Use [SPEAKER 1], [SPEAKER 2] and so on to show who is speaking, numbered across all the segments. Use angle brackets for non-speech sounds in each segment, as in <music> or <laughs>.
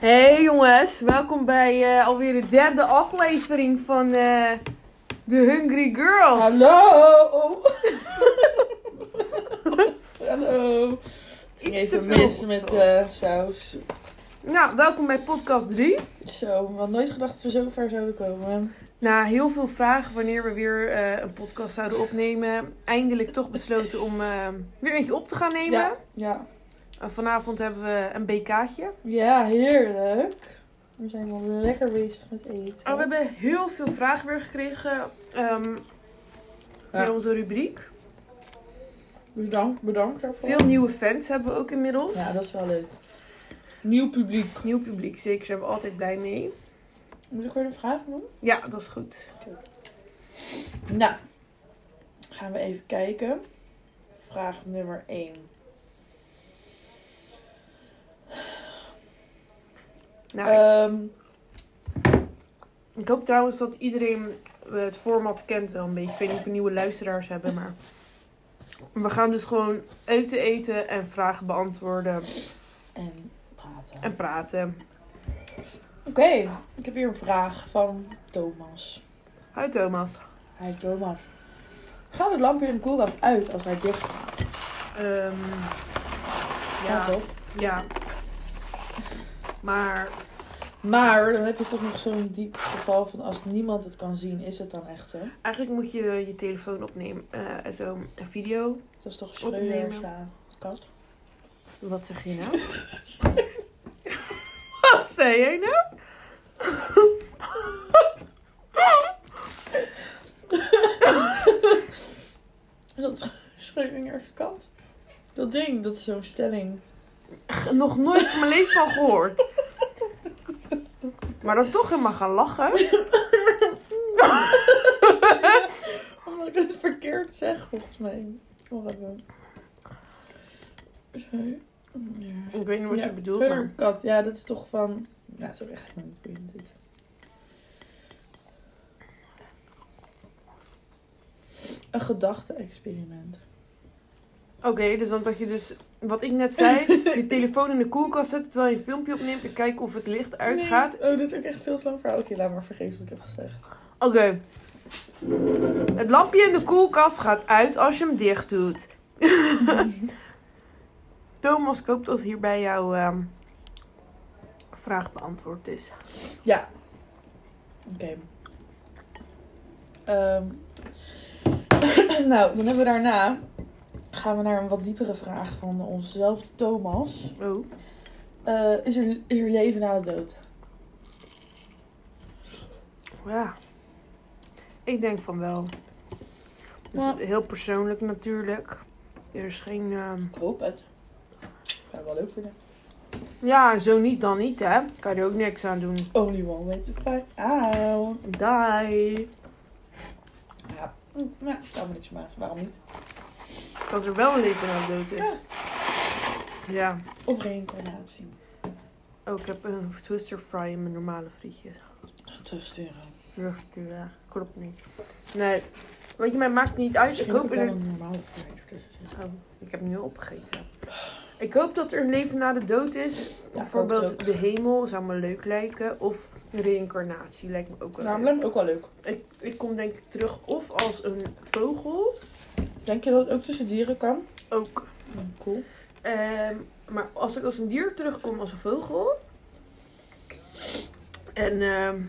[SPEAKER 1] Hey jongens, welkom bij eh, alweer de derde aflevering van eh The Hungry Girls. <laughs>
[SPEAKER 2] Hallo! Hallo!
[SPEAKER 1] Iets te
[SPEAKER 2] Even
[SPEAKER 1] veel
[SPEAKER 2] mis met
[SPEAKER 1] zoals-
[SPEAKER 2] eh, saus.
[SPEAKER 1] Nou, welkom bij podcast 3.
[SPEAKER 2] Zo, we hadden nooit gedacht dat we zo ver zouden komen.
[SPEAKER 1] Na heel veel vragen wanneer we weer eh, een podcast zouden opnemen, eindelijk toch besloten om eh, weer eentje op te gaan nemen.
[SPEAKER 2] Ja, ja.
[SPEAKER 1] En vanavond hebben we een BK'tje.
[SPEAKER 2] ja heerlijk. We zijn wel weer lekker bezig met eten.
[SPEAKER 1] Oh, we hebben heel veel vragen weer gekregen ehm bij
[SPEAKER 2] Ja.
[SPEAKER 1] onze rubriek.
[SPEAKER 2] Bedankt, Dus bedankt daarvoor.
[SPEAKER 1] Veel nieuwe fans hebben we ook inmiddels.
[SPEAKER 2] Ja, dat is wel leuk. Nieuw publiek.
[SPEAKER 1] Nieuw publiek, zeker. Zijn we altijd blij mee.
[SPEAKER 2] Moet ik weer een vraag doen?
[SPEAKER 1] Ja, dat is goed.
[SPEAKER 2] Nou, gaan we even kijken. Vraag nummer 1.
[SPEAKER 1] Nou,
[SPEAKER 2] Ehm,
[SPEAKER 1] Ik hoop trouwens dat iedereen eh, het format kent wel een beetje. Ik weet niet of we nieuwe luisteraars hebben, maar... We gaan dus gewoon eten eten en vragen beantwoorden
[SPEAKER 2] en praten.
[SPEAKER 1] en praten.
[SPEAKER 2] Oké, ik heb hier een vraag van Thomas.
[SPEAKER 1] Hoi Thomas.
[SPEAKER 2] Hi Thomas. Gaat het lampje in de koelkast uit als hij dicht gaat?
[SPEAKER 1] Ehm,
[SPEAKER 2] Ja,
[SPEAKER 1] ja,
[SPEAKER 2] toch?
[SPEAKER 1] ja. Maar
[SPEAKER 2] Maar dan heb je toch nog zo'n diep geval van als niemand het kan zien, is het dan echt zo?
[SPEAKER 1] eigenlijk moet je je telefoon opnemen. eh, en zo een video.
[SPEAKER 2] Dat is toch eh,
[SPEAKER 1] Opnemen.
[SPEAKER 2] schreeuwen slaan. Kast.
[SPEAKER 1] Wat zeg je nou? <laughs> Wat zei jij nou?
[SPEAKER 2] Is dat <laughs> Schreuder's kant? Dat ding, dat is zo'n stelling.
[SPEAKER 1] Nog nooit van mijn leven van gehoord. Maar dan toch helemaal gaan lachen.
[SPEAKER 2] Omdat Oh, ik het verkeerd zeg, volgens mij. Wacht even. Sorry. Ja.
[SPEAKER 1] Ik weet niet wat
[SPEAKER 2] Ja,
[SPEAKER 1] je bedoelt,
[SPEAKER 2] Verder
[SPEAKER 1] maar...
[SPEAKER 2] kat, ja, dat is toch van. Nou, sorry, ga ik maar niet boeien dit. Een gedachte-experiment.
[SPEAKER 1] Oké, dus dan dat je dus... Wat ik net zei,
[SPEAKER 2] <laughs>
[SPEAKER 1] je telefoon in de koelkast zet terwijl je een filmpje opneemt... en kijken of het licht uitgaat.
[SPEAKER 2] Nee. Oh, dit is ook echt veel te lang verhaal. Oké, laat maar vergeten wat ik heb gezegd.
[SPEAKER 1] Oké. Het lampje in de koelkast gaat uit als je hem dicht doet.
[SPEAKER 2] <laughs>
[SPEAKER 1] Thomas, ik hoop dat hierbij jouw ehm, vraag beantwoord is.
[SPEAKER 2] Ja. Oké. Ehm, <clears throat> nou, dan hebben we daarna. Gaan we naar een wat diepere vraag van onszelf, Thomas.
[SPEAKER 1] Oh.
[SPEAKER 2] Eh, is, er, is er leven na de dood?
[SPEAKER 1] Ja. Ik denk van wel. Dus
[SPEAKER 2] Ja.
[SPEAKER 1] heel persoonlijk natuurlijk. Er is geen... ehm,
[SPEAKER 2] Ik hoop het. zou wel leuk vinden.
[SPEAKER 1] Ja, zo niet dan niet, hè. Kan je er ook niks aan doen.
[SPEAKER 2] Only one way to find out.
[SPEAKER 1] Die.
[SPEAKER 2] Ja, mm, nou, het zou me niks maken. Waarom niet?
[SPEAKER 1] Dat er wel een leven aan dood is. Ja.
[SPEAKER 2] Of reïncarnatie.
[SPEAKER 1] Oh, ik heb een twister fry in mijn normale frietjes.
[SPEAKER 2] Terugsturen.
[SPEAKER 1] Ja, klopt niet. Nee. Weet je, mij maakt het niet uit. Ik hoop,
[SPEAKER 2] er
[SPEAKER 1] er...
[SPEAKER 2] een normale vrijdag tussen zit.
[SPEAKER 1] oh, ik heb hem nu opgegeten. Ik hoop dat er een leven na de dood is. Bijvoorbeeld
[SPEAKER 2] ook.
[SPEAKER 1] de hemel zou me leuk lijken. Of reïncarnatie lijkt me ook wel
[SPEAKER 2] Nou, dat lijkt me ook wel leuk.
[SPEAKER 1] leuk. Ik, ik kom denk ik terug of als een vogel.
[SPEAKER 2] Denk je dat het ook tussen dieren kan?
[SPEAKER 1] Ook
[SPEAKER 2] Cool.
[SPEAKER 1] Ehm, maar als ik als een dier terugkom als een vogel. En ehm,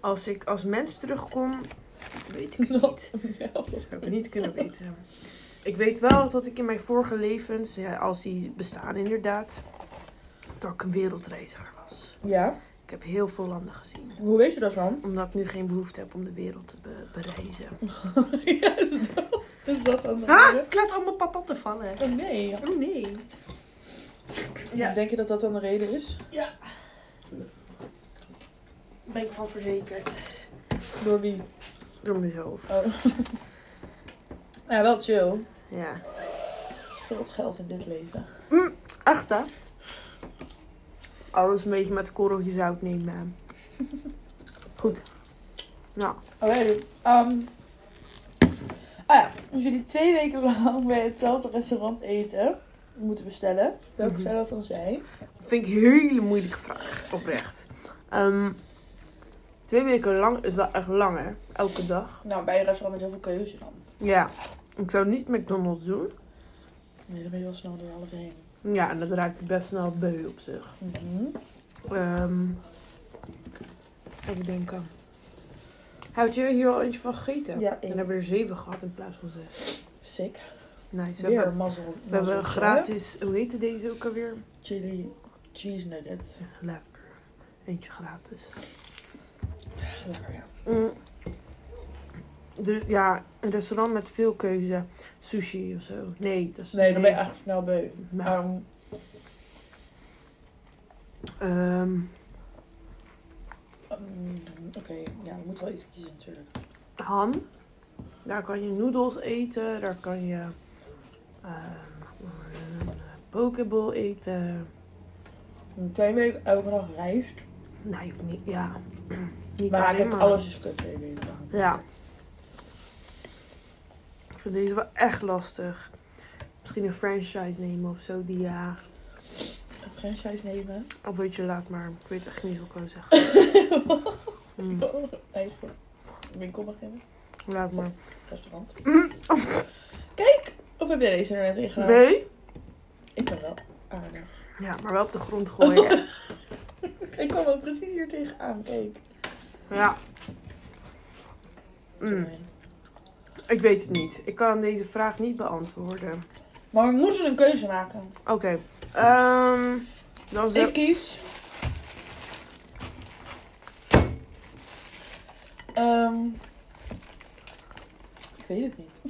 [SPEAKER 1] als ik als mens terugkom, weet ik het niet.
[SPEAKER 2] <laughs> ja, dat is
[SPEAKER 1] Ik heb het niet kunnen weten. Ik weet wel dat ik in mijn vorige levens, ja, als die bestaan inderdaad, dat ik een wereldreiziger was.
[SPEAKER 2] Ja,
[SPEAKER 1] Ik heb heel veel landen gezien.
[SPEAKER 2] hoe weet je dat dan?
[SPEAKER 1] Omdat ik nu geen behoefte heb om de wereld te be- bereizen.
[SPEAKER 2] <laughs>
[SPEAKER 1] Ah,
[SPEAKER 2] ja, is dat, is dat dan de
[SPEAKER 1] Ha!
[SPEAKER 2] reden?
[SPEAKER 1] Ik laat allemaal patatten vallen.
[SPEAKER 2] Oh nee.
[SPEAKER 1] Oh nee. Ja.
[SPEAKER 2] Denk je dat dat dan de reden is?
[SPEAKER 1] Ben ik van verzekerd.
[SPEAKER 2] Door wie?
[SPEAKER 1] Door mezelf.
[SPEAKER 2] Oh. ja, wel chill.
[SPEAKER 1] Ja.
[SPEAKER 2] Scheelt geld in dit leven.
[SPEAKER 1] Echt hè? Alles een beetje met korreltje zout nemen. Goed. Nou,
[SPEAKER 2] Oké, ehm, ah ja, als jullie twee <laughs> weken lang bij hetzelfde restaurant eten moeten bestellen, welke
[SPEAKER 1] Mhm.
[SPEAKER 2] zou dat dan zijn?
[SPEAKER 1] Vind ik een hele moeilijke vraag, oprecht. Ehm, twee weken lang is wel echt lang, hè? Elke dag.
[SPEAKER 2] Nou, bij een restaurant met heel veel keuze dan.
[SPEAKER 1] Ja, ik zou niet McDonald's doen.
[SPEAKER 2] Nee, dan ben je wel snel door alles heen.
[SPEAKER 1] Ja, en dat raakt ik best snel beu op zich. Mhm. Ehm, even denken. Houd je hier al eentje van gegeten?
[SPEAKER 2] Ja, één.
[SPEAKER 1] Dan hebben we er zeven gehad in plaats van zes.
[SPEAKER 2] Sick.
[SPEAKER 1] Nice. We
[SPEAKER 2] Weer
[SPEAKER 1] hebben,
[SPEAKER 2] mazzel.
[SPEAKER 1] we hebben een gratis, hoe heette deze ook alweer?
[SPEAKER 2] Chili cheese nuggets.
[SPEAKER 1] Lekker. Eentje gratis.
[SPEAKER 2] Lekker, ja.
[SPEAKER 1] Mm. Dus ja, een restaurant met veel keuze. Sushi of zo. Nee, dat is
[SPEAKER 2] Nee, dan ben je eigenlijk snel beu.
[SPEAKER 1] Nou,
[SPEAKER 2] Ehm,
[SPEAKER 1] ehm,
[SPEAKER 2] ehm, Oké, ja, je moet wel iets kiezen natuurlijk.
[SPEAKER 1] ham. Daar kan je noedels eten. Daar kan je ehm pokeball eten.
[SPEAKER 2] Ehm, Twee weken elke dag rijst.
[SPEAKER 1] Nee, of niet. Ja. <clears throat> niet
[SPEAKER 2] Maar ik
[SPEAKER 1] alleen
[SPEAKER 2] heb alles eens gekut twee weken lang.
[SPEAKER 1] Ja. Ik vind deze wel echt lastig. Misschien een franchise nemen of zo. Die ja,
[SPEAKER 2] Een franchise
[SPEAKER 1] <laughs>
[SPEAKER 2] nemen.
[SPEAKER 1] een beetje laat maar. Ik weet echt niet hoe ik kan
[SPEAKER 2] <coughs>
[SPEAKER 1] zeggen. Mm,
[SPEAKER 2] Nee, voor winkel beginnen.
[SPEAKER 1] laat maar.
[SPEAKER 2] Restaurant.
[SPEAKER 1] Mm.
[SPEAKER 2] Kijk! Of heb jij deze er net in gedaan?
[SPEAKER 1] Nee?
[SPEAKER 2] Ik ben wel aardig.
[SPEAKER 1] Ja, maar wel op de grond gooien.
[SPEAKER 2] Ik kwam wel precies hier tegenaan. Kijk.
[SPEAKER 1] <laughs> ja. Mm, ik weet het niet. Ik kan deze vraag niet beantwoorden.
[SPEAKER 2] Maar we moeten een keuze maken.
[SPEAKER 1] Oké. ehm, dan zou...
[SPEAKER 2] Ik kies. Ehm, ik weet het niet.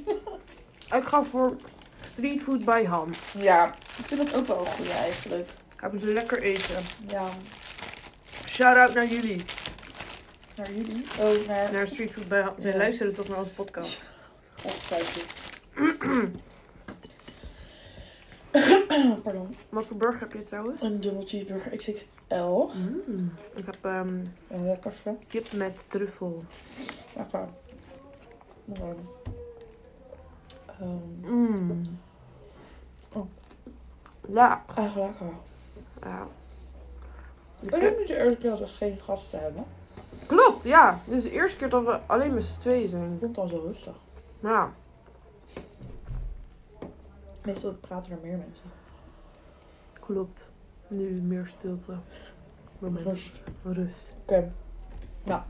[SPEAKER 1] ik ga voor streetfood bij ham.
[SPEAKER 2] Ja, ik vind dat ook wel een goede eigenlijk.
[SPEAKER 1] Hebben ze lekker eten.
[SPEAKER 2] Ja,
[SPEAKER 1] Shout-out naar jullie.
[SPEAKER 2] naar jullie. Oh, naar.
[SPEAKER 1] Naar streetfood bij ham. Zij
[SPEAKER 2] Ja.
[SPEAKER 1] luisteren toch naar onze podcast.
[SPEAKER 2] Oh, kijk Pardon.
[SPEAKER 1] Wat voor burger heb je trouwens?
[SPEAKER 2] Een dubbel cheeseburger XXL.
[SPEAKER 1] Ik heb ehm,
[SPEAKER 2] Een lekkerste.
[SPEAKER 1] kip met truffel.
[SPEAKER 2] Lekker. Mooi. Ehm,
[SPEAKER 1] Mm.
[SPEAKER 2] Oh.
[SPEAKER 1] Laag.
[SPEAKER 2] echt lekker.
[SPEAKER 1] Ja.
[SPEAKER 2] Ik denk niet de eerste keer dat we geen gasten hebben.
[SPEAKER 1] Klopt, ja. Dit is de eerste keer dat we alleen met z'n tweeën zijn.
[SPEAKER 2] Ik vond het al zo rustig.
[SPEAKER 1] Ja.
[SPEAKER 2] Meestal praten er meer mensen.
[SPEAKER 1] Klopt. Nu meer stilte. Moment. Rust.
[SPEAKER 2] Rust. Oké. Nou.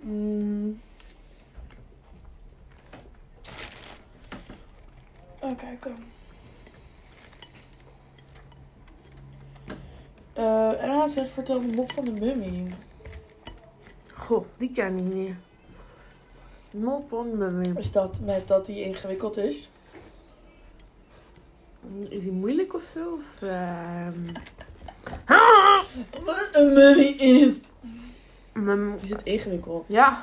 [SPEAKER 2] Mm. Even kijken. Eh, en hij zegt, vertel me nog van de mummy.
[SPEAKER 1] Goh, die ken ik niet. Mop van me weer.
[SPEAKER 2] Is dat met dat hij ingewikkeld is?
[SPEAKER 1] Is die moeilijk of zo? Of, ehm,
[SPEAKER 2] Wat een mummy is!
[SPEAKER 1] mem-
[SPEAKER 2] Is het ingewikkeld?
[SPEAKER 1] ja.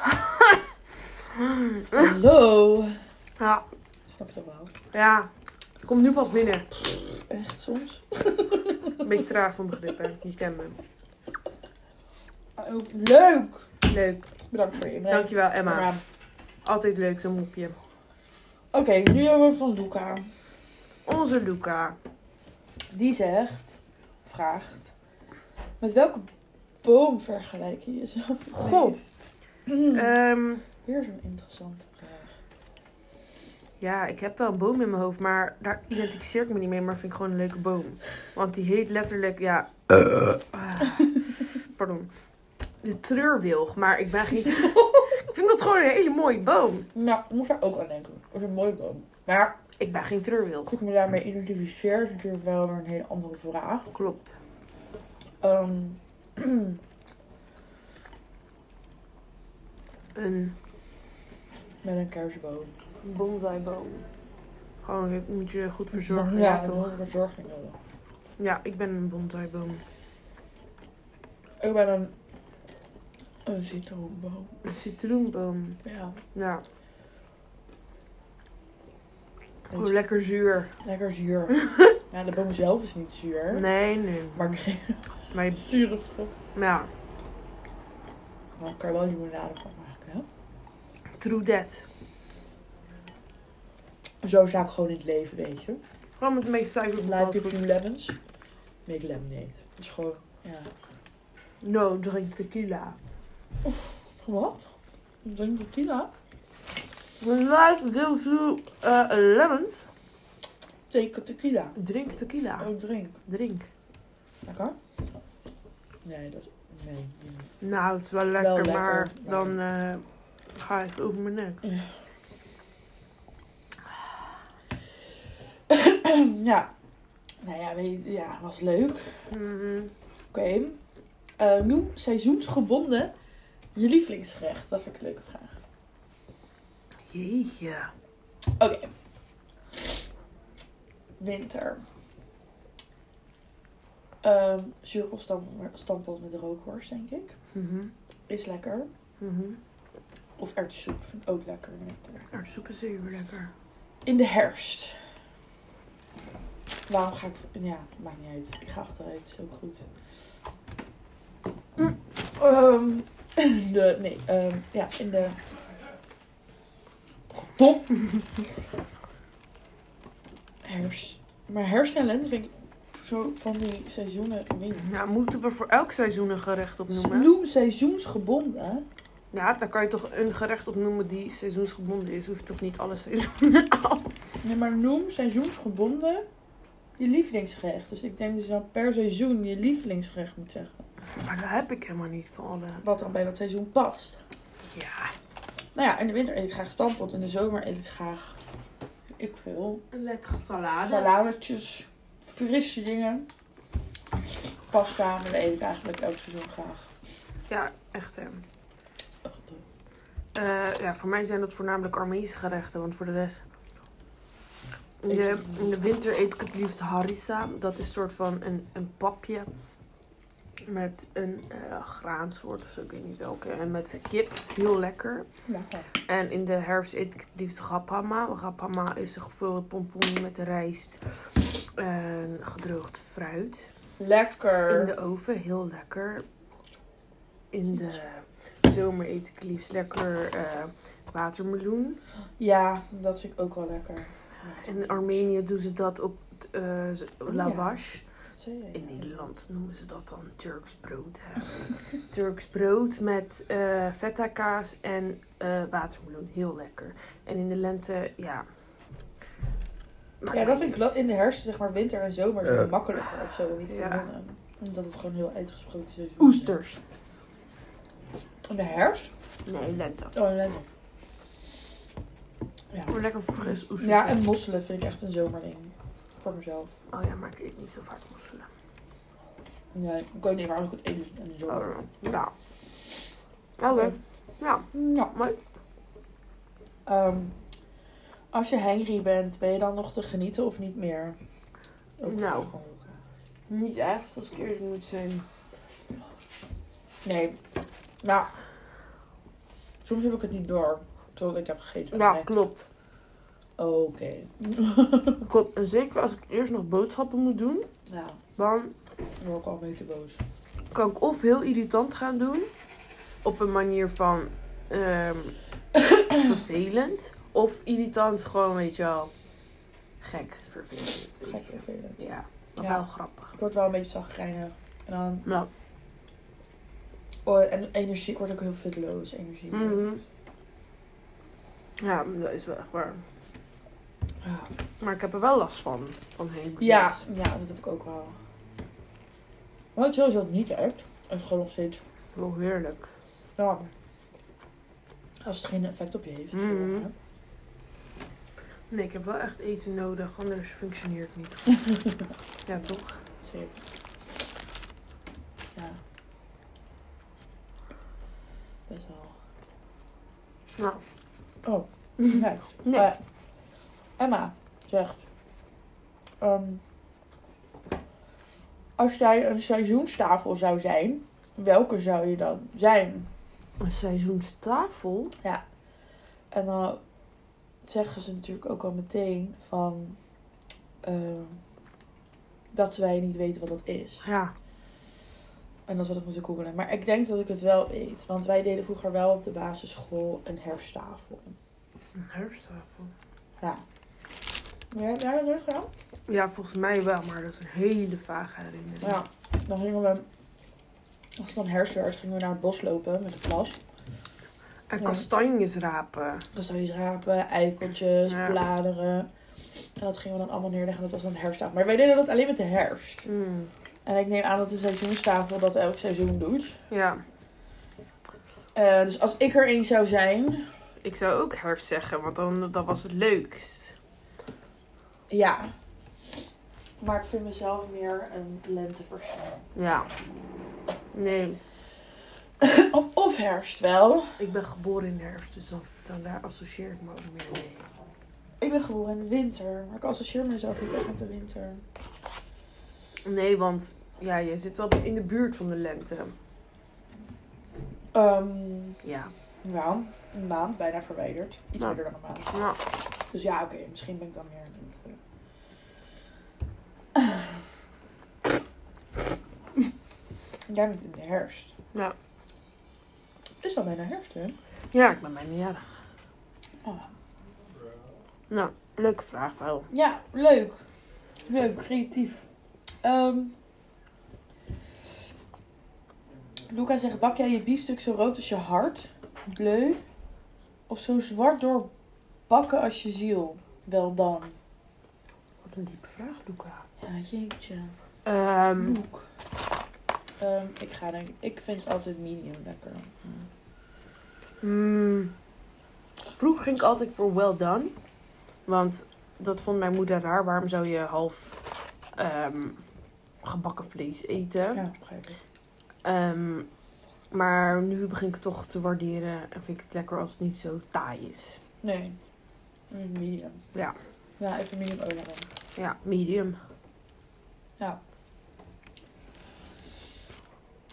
[SPEAKER 2] Hallo!
[SPEAKER 1] ja.
[SPEAKER 2] Snap je dat wel?
[SPEAKER 1] Ja. Komt nu pas binnen.
[SPEAKER 2] Echt soms?
[SPEAKER 1] Een beetje traag van begrip, hè. Je kent me.
[SPEAKER 2] Oh, Leuk!
[SPEAKER 1] Leuk.
[SPEAKER 2] Bedankt voor je inbreng.
[SPEAKER 1] Dankjewel, Emma.
[SPEAKER 2] Maar-
[SPEAKER 1] Altijd leuk, zo'n mopje.
[SPEAKER 2] Oké, nu hebben we van Luca.
[SPEAKER 1] Onze Luca.
[SPEAKER 2] Die zegt, vraagt, met welke boom vergelijk je jezelf het
[SPEAKER 1] Goh.
[SPEAKER 2] meest? Mm.
[SPEAKER 1] Ehm,
[SPEAKER 2] Weer zo'n interessante vraag.
[SPEAKER 1] ja, ik heb wel een boom in mijn hoofd, maar daar identificeer ik me niet mee. Maar vind ik gewoon een leuke boom. Want die heet letterlijk, ja...
[SPEAKER 2] Eh.
[SPEAKER 1] Ah, pardon. De treurwilg, maar ik ben
[SPEAKER 2] <laughs>
[SPEAKER 1] geen... ik vind dat gewoon een hele mooie boom.
[SPEAKER 2] Nou, ik moest daar ook aan denken. Dat is een mooie boom. Maar
[SPEAKER 1] Ik ben geen treurwilg.
[SPEAKER 2] als ik me daarmee identificeer, is natuurlijk wel weer een hele andere vraag.
[SPEAKER 1] Klopt.
[SPEAKER 2] Ehm, <clears throat>
[SPEAKER 1] Een
[SPEAKER 2] met een kersenboom.
[SPEAKER 1] bonsaiboom. Gewoon, je moet je goed verzorgen, ja,
[SPEAKER 2] ja,
[SPEAKER 1] toch?
[SPEAKER 2] toch? verzorging nodig.
[SPEAKER 1] Ja, ik ben een bonsaiboom.
[SPEAKER 2] Ik ben een, een citroenboom.
[SPEAKER 1] Een citroenboom.
[SPEAKER 2] Ja.
[SPEAKER 1] Ja,
[SPEAKER 2] Een
[SPEAKER 1] gewoon lekker zuur.
[SPEAKER 2] Lekker <laughs> zuur. ja, de boom zelf is niet zuur.
[SPEAKER 1] Nee, nee.
[SPEAKER 2] Maar geen
[SPEAKER 1] Maar je-
[SPEAKER 2] zure vrucht.
[SPEAKER 1] ja,
[SPEAKER 2] Maar ik kan er wel limonade van maken, hè?
[SPEAKER 1] true that.
[SPEAKER 2] Zo sta ik gewoon in het leven, weet je.
[SPEAKER 1] Gewoon met een beetje suiker op de
[SPEAKER 2] Live
[SPEAKER 1] patat is
[SPEAKER 2] with
[SPEAKER 1] goed.
[SPEAKER 2] two lemons. Make lemonade. Dat is gewoon, ja.
[SPEAKER 1] No, Nou, drink tequila.
[SPEAKER 2] Wat? Ik Drink tequila.
[SPEAKER 1] Live with two eh, lemons.
[SPEAKER 2] Take a tequila.
[SPEAKER 1] Drink tequila.
[SPEAKER 2] Ook drink.
[SPEAKER 1] Drink.
[SPEAKER 2] Lekker? Nee, dat is... Nee. nee.
[SPEAKER 1] Nou, het is wel lekker,
[SPEAKER 2] lekker,
[SPEAKER 1] maar
[SPEAKER 2] maar-
[SPEAKER 1] dan eh, ga ik over mijn nek.
[SPEAKER 2] ja. Nou ja, weet je, ja, was leuk. Oké.
[SPEAKER 1] Mhm.
[SPEAKER 2] Eh, noem seizoensgebonden je lievelingsgerecht. Dat vind ik een leuke vraag.
[SPEAKER 1] Jeetje.
[SPEAKER 2] Oké. Winter. Ehm Zuurkoolstampot met rookworst, denk ik.
[SPEAKER 1] Mhm.
[SPEAKER 2] Is lekker.
[SPEAKER 1] Mhm.
[SPEAKER 2] Of erwtensoep vind ik ook lekker. in de winter.
[SPEAKER 1] Ja, Nou, de soep is zeker lekker.
[SPEAKER 2] In de herfst. Waarom ga ik... Ja, maakt niet uit. Ik ga achteruit. Is ook goed. Mm, ehm, in de... Nee. ehm, ja, in de... Top. Herfst. Maar herfst en lente vind ik zo van die seizoenen... Ik weet niet.
[SPEAKER 1] Nou, moeten we voor elk seizoen een gerecht opnoemen?
[SPEAKER 2] Noem seizoensgebonden. hè?
[SPEAKER 1] Ja, dan kan je toch een gerecht opnoemen die seizoensgebonden is. Hoeft toch niet alle seizoenen <laughs> af?
[SPEAKER 2] Nee, maar noem seizoensgebonden je lievelingsgerecht. Dus ik denk dat je dan per seizoen je lievelingsgerecht moet zeggen.
[SPEAKER 1] Maar daar heb ik helemaal niet van alle.
[SPEAKER 2] Wat dan bij dat seizoen past.
[SPEAKER 1] Ja,
[SPEAKER 2] Nou ja, in de winter eet ik graag stampot. In de zomer eet ik graag, ik veel,
[SPEAKER 1] een lekkere salade.
[SPEAKER 2] saladetjes, frisse dingen. Pasta, maar dat eet ik eigenlijk elk seizoen graag.
[SPEAKER 1] Ja, echt hè.
[SPEAKER 2] Echt, eh,
[SPEAKER 1] Eh, ja, voor mij zijn dat voornamelijk Armeense gerechten, want voor de rest... In
[SPEAKER 2] Eet je
[SPEAKER 1] de,
[SPEAKER 2] het niet?
[SPEAKER 1] in de winter eet ik het liefst harissa. Dat is soort van een, een papje met een eh, graansoort of zo, ik weet niet welke. En met kip, heel lekker.
[SPEAKER 2] Lekker.
[SPEAKER 1] En in de herfst eet ik het liefst gapama. Gapama is een gevulde pompoen met rijst en gedroogd fruit. In
[SPEAKER 2] Lekker.
[SPEAKER 1] de oven, heel lekker. In de zomer eet ik het liefst lekker eh, watermeloen.
[SPEAKER 2] Ja, dat vind ik ook wel lekker.
[SPEAKER 1] In Armenië doen ze dat op eh, z-
[SPEAKER 2] Oh, ja.
[SPEAKER 1] lavash.
[SPEAKER 2] Wat zei jij
[SPEAKER 1] In
[SPEAKER 2] nou?
[SPEAKER 1] Nederland noemen ze dat dan Turks brood. hè. <laughs> Turks brood met eh feta kaas en eh, watermeloen. Heel lekker. En in de lente, ja. Maar
[SPEAKER 2] Ja, dat vind ik la- in de herfst, zeg maar winter en zomer, is het makkelijker of zo om iets te
[SPEAKER 1] Ja.
[SPEAKER 2] winnen. Omdat het gewoon heel uitgesproken seizoen is.
[SPEAKER 1] Oesters.
[SPEAKER 2] In de herfst?
[SPEAKER 1] Nee, lente.
[SPEAKER 2] Oh, lekker. Ja.
[SPEAKER 1] Oh, lekker fris oesters.
[SPEAKER 2] ja, en mosselen vind ik echt een zomerding. Voor mezelf.
[SPEAKER 1] Oh ja, maar ik eet niet zo vaak mosselen.
[SPEAKER 2] Nee, ik weet niet waar als ik het eet dus in de zomer.
[SPEAKER 1] Oh, ja. Oké. Ja,
[SPEAKER 2] Ja.
[SPEAKER 1] mooi.
[SPEAKER 2] Ehm, als je hangry bent, ben je dan nog te genieten of niet meer?
[SPEAKER 1] Nou.
[SPEAKER 2] gewoon ook, ja.
[SPEAKER 1] Niet echt, als ik eerlijk moet zijn.
[SPEAKER 2] Nee. Nou. Soms heb ik het niet door. Totdat ik heb gegeten.
[SPEAKER 1] Ja,
[SPEAKER 2] Nee.
[SPEAKER 1] klopt.
[SPEAKER 2] Oké. <laughs>
[SPEAKER 1] Klopt. En zeker als ik eerst nog boodschappen moet doen,
[SPEAKER 2] Ja,
[SPEAKER 1] dan
[SPEAKER 2] dan word ik al een beetje boos.
[SPEAKER 1] kan ik of heel irritant gaan doen. Op een manier van ehm, <coughs> vervelend. Of irritant gewoon, weet je wel, gek vervelend.
[SPEAKER 2] Gek
[SPEAKER 1] Weet je.
[SPEAKER 2] vervelend.
[SPEAKER 1] Ja, maar
[SPEAKER 2] Ja.
[SPEAKER 1] wel grappig.
[SPEAKER 2] Ik word wel een beetje zagrijnig. En dan...
[SPEAKER 1] Nou,
[SPEAKER 2] Oh, en energie. Ik word ook heel fitloos. Energie.
[SPEAKER 1] mhm. Ja, dat is wel echt waar.
[SPEAKER 2] Ja.
[SPEAKER 1] Maar ik heb er wel last van, van hangry
[SPEAKER 2] Ja,
[SPEAKER 1] days.
[SPEAKER 2] ja, dat heb ik ook wel. Maar het sowieso niet echt. Het is gewoon nog steeds.
[SPEAKER 1] Wel heerlijk.
[SPEAKER 2] Ja. Als het geen effect op je heeft.
[SPEAKER 1] Mhm. Nee, ik heb wel echt eten nodig, anders functioneert het niet. <laughs> ja, toch?
[SPEAKER 2] Zeker. Ja. Best wel.
[SPEAKER 1] Nou,
[SPEAKER 2] Oh,
[SPEAKER 1] <laughs>
[SPEAKER 2] nice.
[SPEAKER 1] nee.
[SPEAKER 2] Eh, Emma zegt: ehm, Als jij een seizoenstafel zou zijn, welke zou je dan zijn?
[SPEAKER 1] Een seizoenstafel?
[SPEAKER 2] En dan zeggen ze natuurlijk ook al meteen van ehm, dat wij niet weten wat dat is.
[SPEAKER 1] Ja.
[SPEAKER 2] En dat we dat moeten googlen. Maar ik denk dat ik het wel weet. Want wij deden vroeger wel op de basisschool een herfsttafel.
[SPEAKER 1] Een herfsttafel.
[SPEAKER 2] Ja. Ja, heb jij dat leuk gedaan?
[SPEAKER 1] Ja, volgens mij wel, maar dat is een hele vage herinnering.
[SPEAKER 2] Ja, dan gingen we, als het dan herfst werd, gingen we naar het bos lopen met de klas.
[SPEAKER 1] En
[SPEAKER 2] Ja.
[SPEAKER 1] kastanjes rapen.
[SPEAKER 2] Kastanjes rapen, eikeltjes,
[SPEAKER 1] Ja.
[SPEAKER 2] bladeren. En dat gingen we dan allemaal neerleggen, dat was dan herfstdag. Maar wij deden dat alleen met de herfst.
[SPEAKER 1] Mm,
[SPEAKER 2] En ik neem aan dat de seizoenstafel dat elk seizoen doet.
[SPEAKER 1] Ja,
[SPEAKER 2] Eh, dus als ik er één zou zijn,
[SPEAKER 1] ik zou ook herfst zeggen, want dan, dan was het leukst.
[SPEAKER 2] ja. Maar ik vind mezelf meer een lentepersoon.
[SPEAKER 1] Ja. Nee,
[SPEAKER 2] Of, of herfst wel.
[SPEAKER 1] ik ben geboren in de herfst, dus dan, dan daar associeer ik me ook meer mee.
[SPEAKER 2] Ik ben geboren in de winter. Maar ik associeer mezelf niet echt met de winter.
[SPEAKER 1] Nee, want ja, je zit wel in de buurt van de lente.
[SPEAKER 2] Ehm
[SPEAKER 1] Ja.
[SPEAKER 2] nou, een maand bijna verwijderd. Iets
[SPEAKER 1] Nou.
[SPEAKER 2] minder dan een maand.
[SPEAKER 1] Nou,
[SPEAKER 2] Dus ja, oké, misschien ben ik dan meer een winter. Jij bent in de herfst.
[SPEAKER 1] Ja.
[SPEAKER 2] Het is al bijna herfst, hè?
[SPEAKER 1] ja, ik ben bijna jarig.
[SPEAKER 2] Ah.
[SPEAKER 1] Nou, leuke vraag wel.
[SPEAKER 2] Ja, leuk. Leuk, creatief. Ehm Luca zegt, bak jij je biefstuk zo rood als je hart? Bleu? Of zo zwart door bakken als je ziel? Wel dan.
[SPEAKER 1] Wat een diepe vraag, Luca.
[SPEAKER 2] Ja, jeetje.
[SPEAKER 1] Ehm
[SPEAKER 2] Loek. Ehm, ik ga denk ik vind altijd medium lekker.
[SPEAKER 1] Mm. Vroeger ging ik altijd voor well done. Want dat vond mijn moeder raar. Waarom zou je half ehm, gebakken vlees eten?
[SPEAKER 2] Ja, begrijp ik.
[SPEAKER 1] Ehm, maar nu begin ik het toch te waarderen. En vind ik het lekker als het niet zo taai is.
[SPEAKER 2] Nee. Mm, Medium.
[SPEAKER 1] Ja.
[SPEAKER 2] Ja, even medium ook lekker.
[SPEAKER 1] Ja, medium.
[SPEAKER 2] Ja.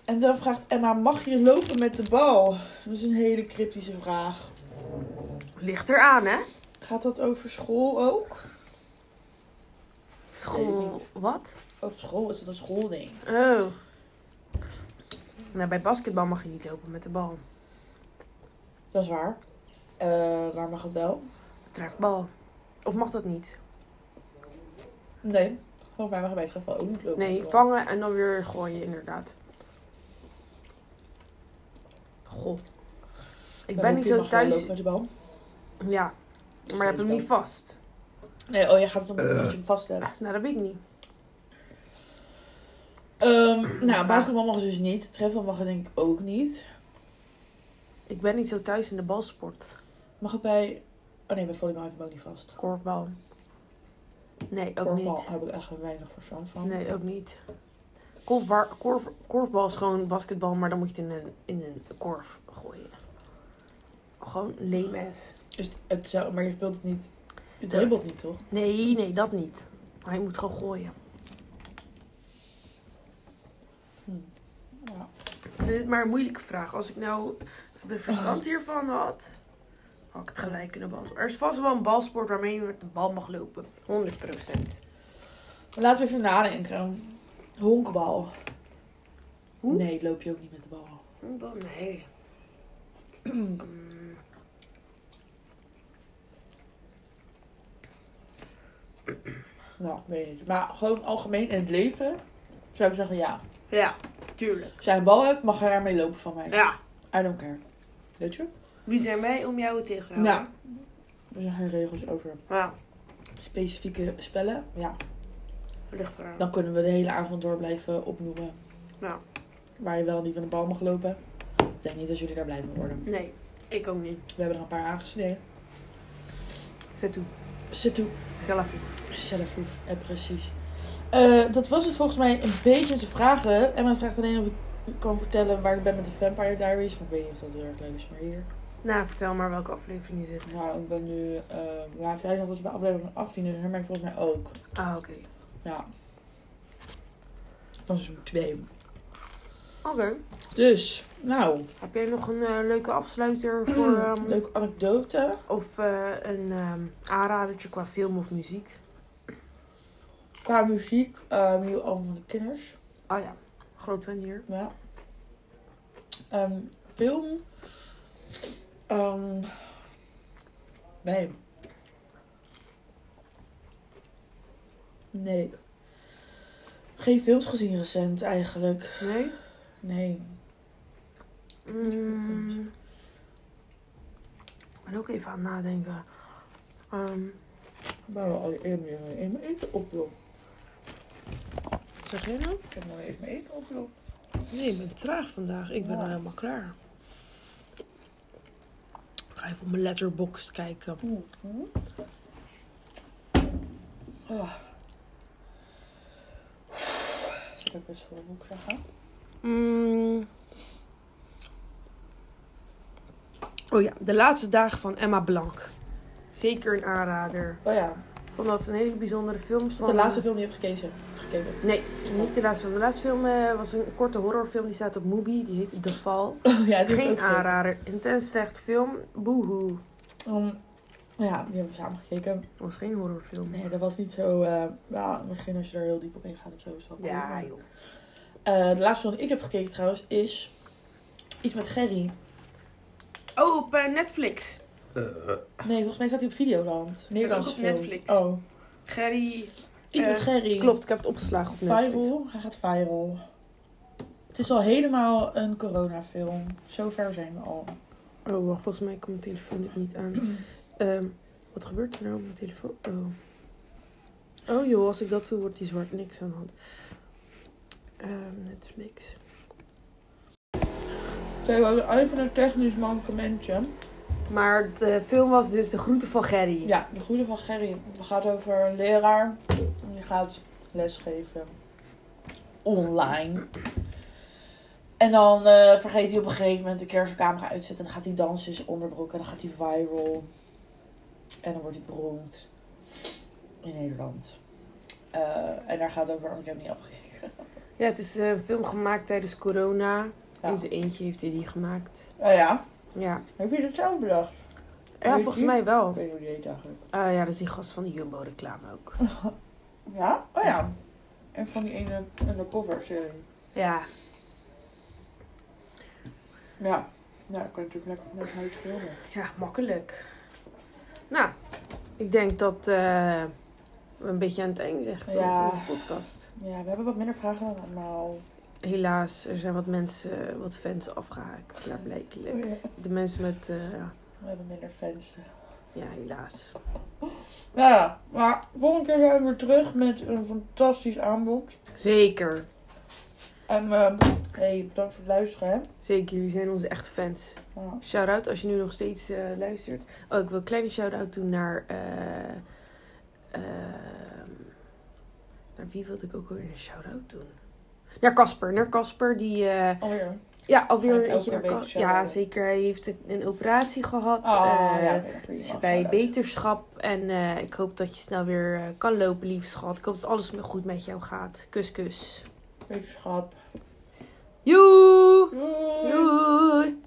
[SPEAKER 2] En dan vraagt Emma, mag je lopen met de bal? Dat is een hele cryptische vraag.
[SPEAKER 1] Ligt eraan, hè?
[SPEAKER 2] Gaat dat over school ook? Weet ik
[SPEAKER 1] School.
[SPEAKER 2] niet.
[SPEAKER 1] Wat?
[SPEAKER 2] Over school is dat een schoolding.
[SPEAKER 1] Oh. Nou, bij basketbal mag je niet lopen met de bal.
[SPEAKER 2] Dat is waar. Eh, maar mag het wel?
[SPEAKER 1] Trefbal. Of mag dat niet?
[SPEAKER 2] Nee. Volgens mij mag je bij het geval ook niet lopen. met
[SPEAKER 1] Nee,
[SPEAKER 2] de bal.
[SPEAKER 1] vangen en dan weer gooien, inderdaad. Goh. Ik
[SPEAKER 2] Bij
[SPEAKER 1] ben
[SPEAKER 2] hockey
[SPEAKER 1] niet zo
[SPEAKER 2] mag je wel
[SPEAKER 1] thuis.
[SPEAKER 2] lopen met de bal.
[SPEAKER 1] Ja, maar je hebt hem niet vast.
[SPEAKER 2] Nee, oh, jij gaat het om dat je hem vast hebt.
[SPEAKER 1] Nou, dat weet ik niet.
[SPEAKER 2] Ehm, nou, basketbal mag dus niet. Treffel mag het denk ik ook niet.
[SPEAKER 1] Ik ben niet zo thuis in de balsport.
[SPEAKER 2] Mag het bij... Oh nee, bij volleybal heb ik hem ook niet vast.
[SPEAKER 1] Korfbal. Nee, ook
[SPEAKER 2] Korfbal
[SPEAKER 1] niet.
[SPEAKER 2] heb ik echt weinig verstand van.
[SPEAKER 1] Nee, ook niet. Korfbar, korf, korfbal is gewoon basketbal, maar dan moet je het in een, in een korf gooien. Gewoon lemes.
[SPEAKER 2] Dus het zou, maar je speelt het niet. Het dribbelt niet, toch?
[SPEAKER 1] Nee, nee, dat niet. Hij moet gewoon gooien.
[SPEAKER 2] Hm. Ja.
[SPEAKER 1] Ik vind het maar een moeilijke vraag. Als ik nou de verstand hiervan had, had ik het gelijk kunnen beantwoorden. Er is vast wel een balsport waarmee je met de bal mag lopen. 100%.
[SPEAKER 2] Laten we even nadenken. Honkbal.
[SPEAKER 1] Hoe?
[SPEAKER 2] Nee, loop je ook niet met de bal.
[SPEAKER 1] Honkbal? Nee. Mm.
[SPEAKER 2] Nou, weet je niet. Maar gewoon algemeen in het leven zou ik zeggen ja.
[SPEAKER 1] ja, tuurlijk.
[SPEAKER 2] Als jij een bal hebt, mag je daarmee lopen van mij.
[SPEAKER 1] Ja.
[SPEAKER 2] I don't care. Weet je?
[SPEAKER 1] Wie zijn wij om jou tegen te houden? Nou,
[SPEAKER 2] Nou, er zijn geen regels over
[SPEAKER 1] Ja,
[SPEAKER 2] specifieke spellen. Ja,
[SPEAKER 1] ligt eraan.
[SPEAKER 2] dan kunnen we de hele avond door blijven opnoemen.
[SPEAKER 1] Ja.
[SPEAKER 2] Waar je wel en niet met de bal mag lopen. Ik denk niet dat jullie daar blij mee worden.
[SPEAKER 1] Nee, ik ook niet.
[SPEAKER 2] We hebben er een paar aangesneden.
[SPEAKER 1] Zet toe.
[SPEAKER 2] Zit toe.
[SPEAKER 1] Zelf toe.
[SPEAKER 2] Zelf hoef, ja, precies. Eh, dat was het volgens mij een beetje te vragen. Emma vraagt alleen of ik kan vertellen waar ik ben met de Vampire Diaries. Maar ik weet niet of dat heel erg leuk is, maar hier.
[SPEAKER 1] Nou, vertel maar welke aflevering je zit.
[SPEAKER 2] Nou, ik ben nu... eh laatst jij nog was bij aflevering 18, dus daar ben ik volgens mij ook.
[SPEAKER 1] Ah, oké.
[SPEAKER 2] Ja. Dan seizoen 2.
[SPEAKER 1] Oké.
[SPEAKER 2] Dus, nou, hmm,
[SPEAKER 1] Heb jij nog een eh, leuke afsluiter voor...
[SPEAKER 2] Mm,
[SPEAKER 1] ehm,
[SPEAKER 2] leuke anekdote.
[SPEAKER 1] Of eh, een ehm aanradertje qua film of muziek.
[SPEAKER 2] Qua muziek, eh heel allemaal van de kenners.
[SPEAKER 1] Ah ja, groot fan hier.
[SPEAKER 2] Ja. Ehm, film. Ehm nee. Nee. Geen films gezien recent eigenlijk.
[SPEAKER 1] Nee?
[SPEAKER 2] Nee.
[SPEAKER 1] Mm. Ik ben ook even aan het nadenken. Ehm,
[SPEAKER 2] Ik ben wel al even even mijn eten op, joh.
[SPEAKER 1] wat zeg jij nou?
[SPEAKER 2] Ik heb nou even mijn eten op, joh.
[SPEAKER 1] Nee, ik ben traag vandaag. Ik ben
[SPEAKER 2] Ja.
[SPEAKER 1] al helemaal klaar. Ik ga even op mijn letterbox kijken.
[SPEAKER 2] Mhm. Ah. Ik heb best veel boek zeggen.
[SPEAKER 1] Mm. Oh ja, De Laatste Dagen van Emma Blanc. Zeker een aanrader.
[SPEAKER 2] Oh ja,
[SPEAKER 1] Ik vond dat een hele bijzondere film.
[SPEAKER 2] is dat de laatste film die je hebt gekeken? <laughs> gekeken?
[SPEAKER 1] Nee, niet de laatste film. De laatste film eh, was een korte horrorfilm. Die staat op Mubi. Die heet The Fall.
[SPEAKER 2] ja, die heb ik ook
[SPEAKER 1] Geen
[SPEAKER 2] gekeken.
[SPEAKER 1] aanrader. Intens slecht film. Boehoe.
[SPEAKER 2] Ehm, ja, die hebben we samen gekeken.
[SPEAKER 1] Het was geen horrorfilm.
[SPEAKER 2] Nee, dat was niet zo... eh nou, misschien als je daar heel diep op ingaat of zo is het wel cool.
[SPEAKER 1] Ja,
[SPEAKER 2] maar-
[SPEAKER 1] joh.
[SPEAKER 2] Eh, de laatste film die ik heb gekeken trouwens is... Iets met Gerry.
[SPEAKER 1] Oh, op eh, Netflix.
[SPEAKER 2] Nee, volgens mij staat hij op Videoland. Nederlands
[SPEAKER 1] ook op
[SPEAKER 2] film.
[SPEAKER 1] Netflix.
[SPEAKER 2] Oh,
[SPEAKER 1] Gerry. Eh,
[SPEAKER 2] Iets met Gerry.
[SPEAKER 1] Klopt, ik heb het opgeslagen op Netflix.
[SPEAKER 2] Viral, hij gaat viral. Het is al helemaal een coronafilm. Zover zijn we
[SPEAKER 1] <clears throat>
[SPEAKER 2] al.
[SPEAKER 1] Oh, wacht. Volgens mij komt mijn telefoon dit niet aan. Ehm, wat gebeurt er nou op mijn telefoon? Oh. Oh joh, als ik dat doe wordt die zwart niks aan de hand. Ehm, Netflix.
[SPEAKER 2] We hebben even een technisch mankementje.
[SPEAKER 1] Maar de film was dus De Groente van Gerry.
[SPEAKER 2] Ja, de goede van Gerry. Het gaat over een leraar. En die gaat lesgeven. Online. En dan eh, vergeet hij op een gegeven moment de keer zijn camera uit te zetten. En dan gaat hij dansen in zijn onderbroek. En dan gaat hij viral. En dan wordt hij beroemd. In Nederland. Eh, en daar gaat het over. want Ik heb het niet afgekeken.
[SPEAKER 1] Ja, het is eh, een film gemaakt tijdens corona.
[SPEAKER 2] Ja.
[SPEAKER 1] In zijn eentje heeft hij die gemaakt.
[SPEAKER 2] Oh ja.
[SPEAKER 1] Ja,
[SPEAKER 2] Heb je dat zelf bedacht?
[SPEAKER 1] ja
[SPEAKER 2] Weet
[SPEAKER 1] volgens
[SPEAKER 2] je?
[SPEAKER 1] mij wel.
[SPEAKER 2] Ik weet hoe die heet eigenlijk.
[SPEAKER 1] Ah ja, dat is die gast van die Jumbo-reclame
[SPEAKER 2] <laughs>
[SPEAKER 1] ook.
[SPEAKER 2] Ja? Oh ja. En van die ene undercover serie.
[SPEAKER 1] Ja.
[SPEAKER 2] Ja. Ja, dan kan je natuurlijk lekker vanuit huis filmen.
[SPEAKER 1] Ja, makkelijk. Nou, ik denk dat eh, we een beetje aan het eind zijn gekomen
[SPEAKER 2] Ja.
[SPEAKER 1] van de podcast.
[SPEAKER 2] Ja, we hebben wat minder vragen dan normaal.
[SPEAKER 1] Helaas, er zijn wat mensen, eh, wat fans afgehaakt, klaarblijkelijk. De mensen met, eh,
[SPEAKER 2] Oh We hebben minder fans.
[SPEAKER 1] ja, helaas.
[SPEAKER 2] Ja, maar volgende keer zijn we weer terug met een fantastisch aanbod.
[SPEAKER 1] Zeker,
[SPEAKER 2] En ehm hey, bedankt voor het luisteren. Hè.
[SPEAKER 1] zeker, jullie zijn onze echte fans.
[SPEAKER 2] Ja.
[SPEAKER 1] Shout-out als je nu nog steeds eh, luistert. Oh, ik wil een kleine shout-out doen naar... eh, ehm, naar wie wilde ik ook weer een shout-out doen? Naar Casper. Naar Casper, die... eh,
[SPEAKER 2] Alweer.
[SPEAKER 1] Ja, alweer
[SPEAKER 2] Eigenlijk
[SPEAKER 1] een eentje naar
[SPEAKER 2] elke week
[SPEAKER 1] Cas-
[SPEAKER 2] shout-outen.
[SPEAKER 1] Ja, zeker. Hij heeft een- een operatie gehad.
[SPEAKER 2] Ah,
[SPEAKER 1] eh,
[SPEAKER 2] ja, oké, dan kun je
[SPEAKER 1] is
[SPEAKER 2] hem
[SPEAKER 1] bij
[SPEAKER 2] afsluiten.
[SPEAKER 1] beterschap. En eh, ik hoop dat je snel weer eh, kan lopen, lieve schat. Ik hoop dat alles goed met jou gaat. Kus, kus.
[SPEAKER 2] Wetenschap.
[SPEAKER 1] Joe!
[SPEAKER 2] Doei.
[SPEAKER 1] Doei!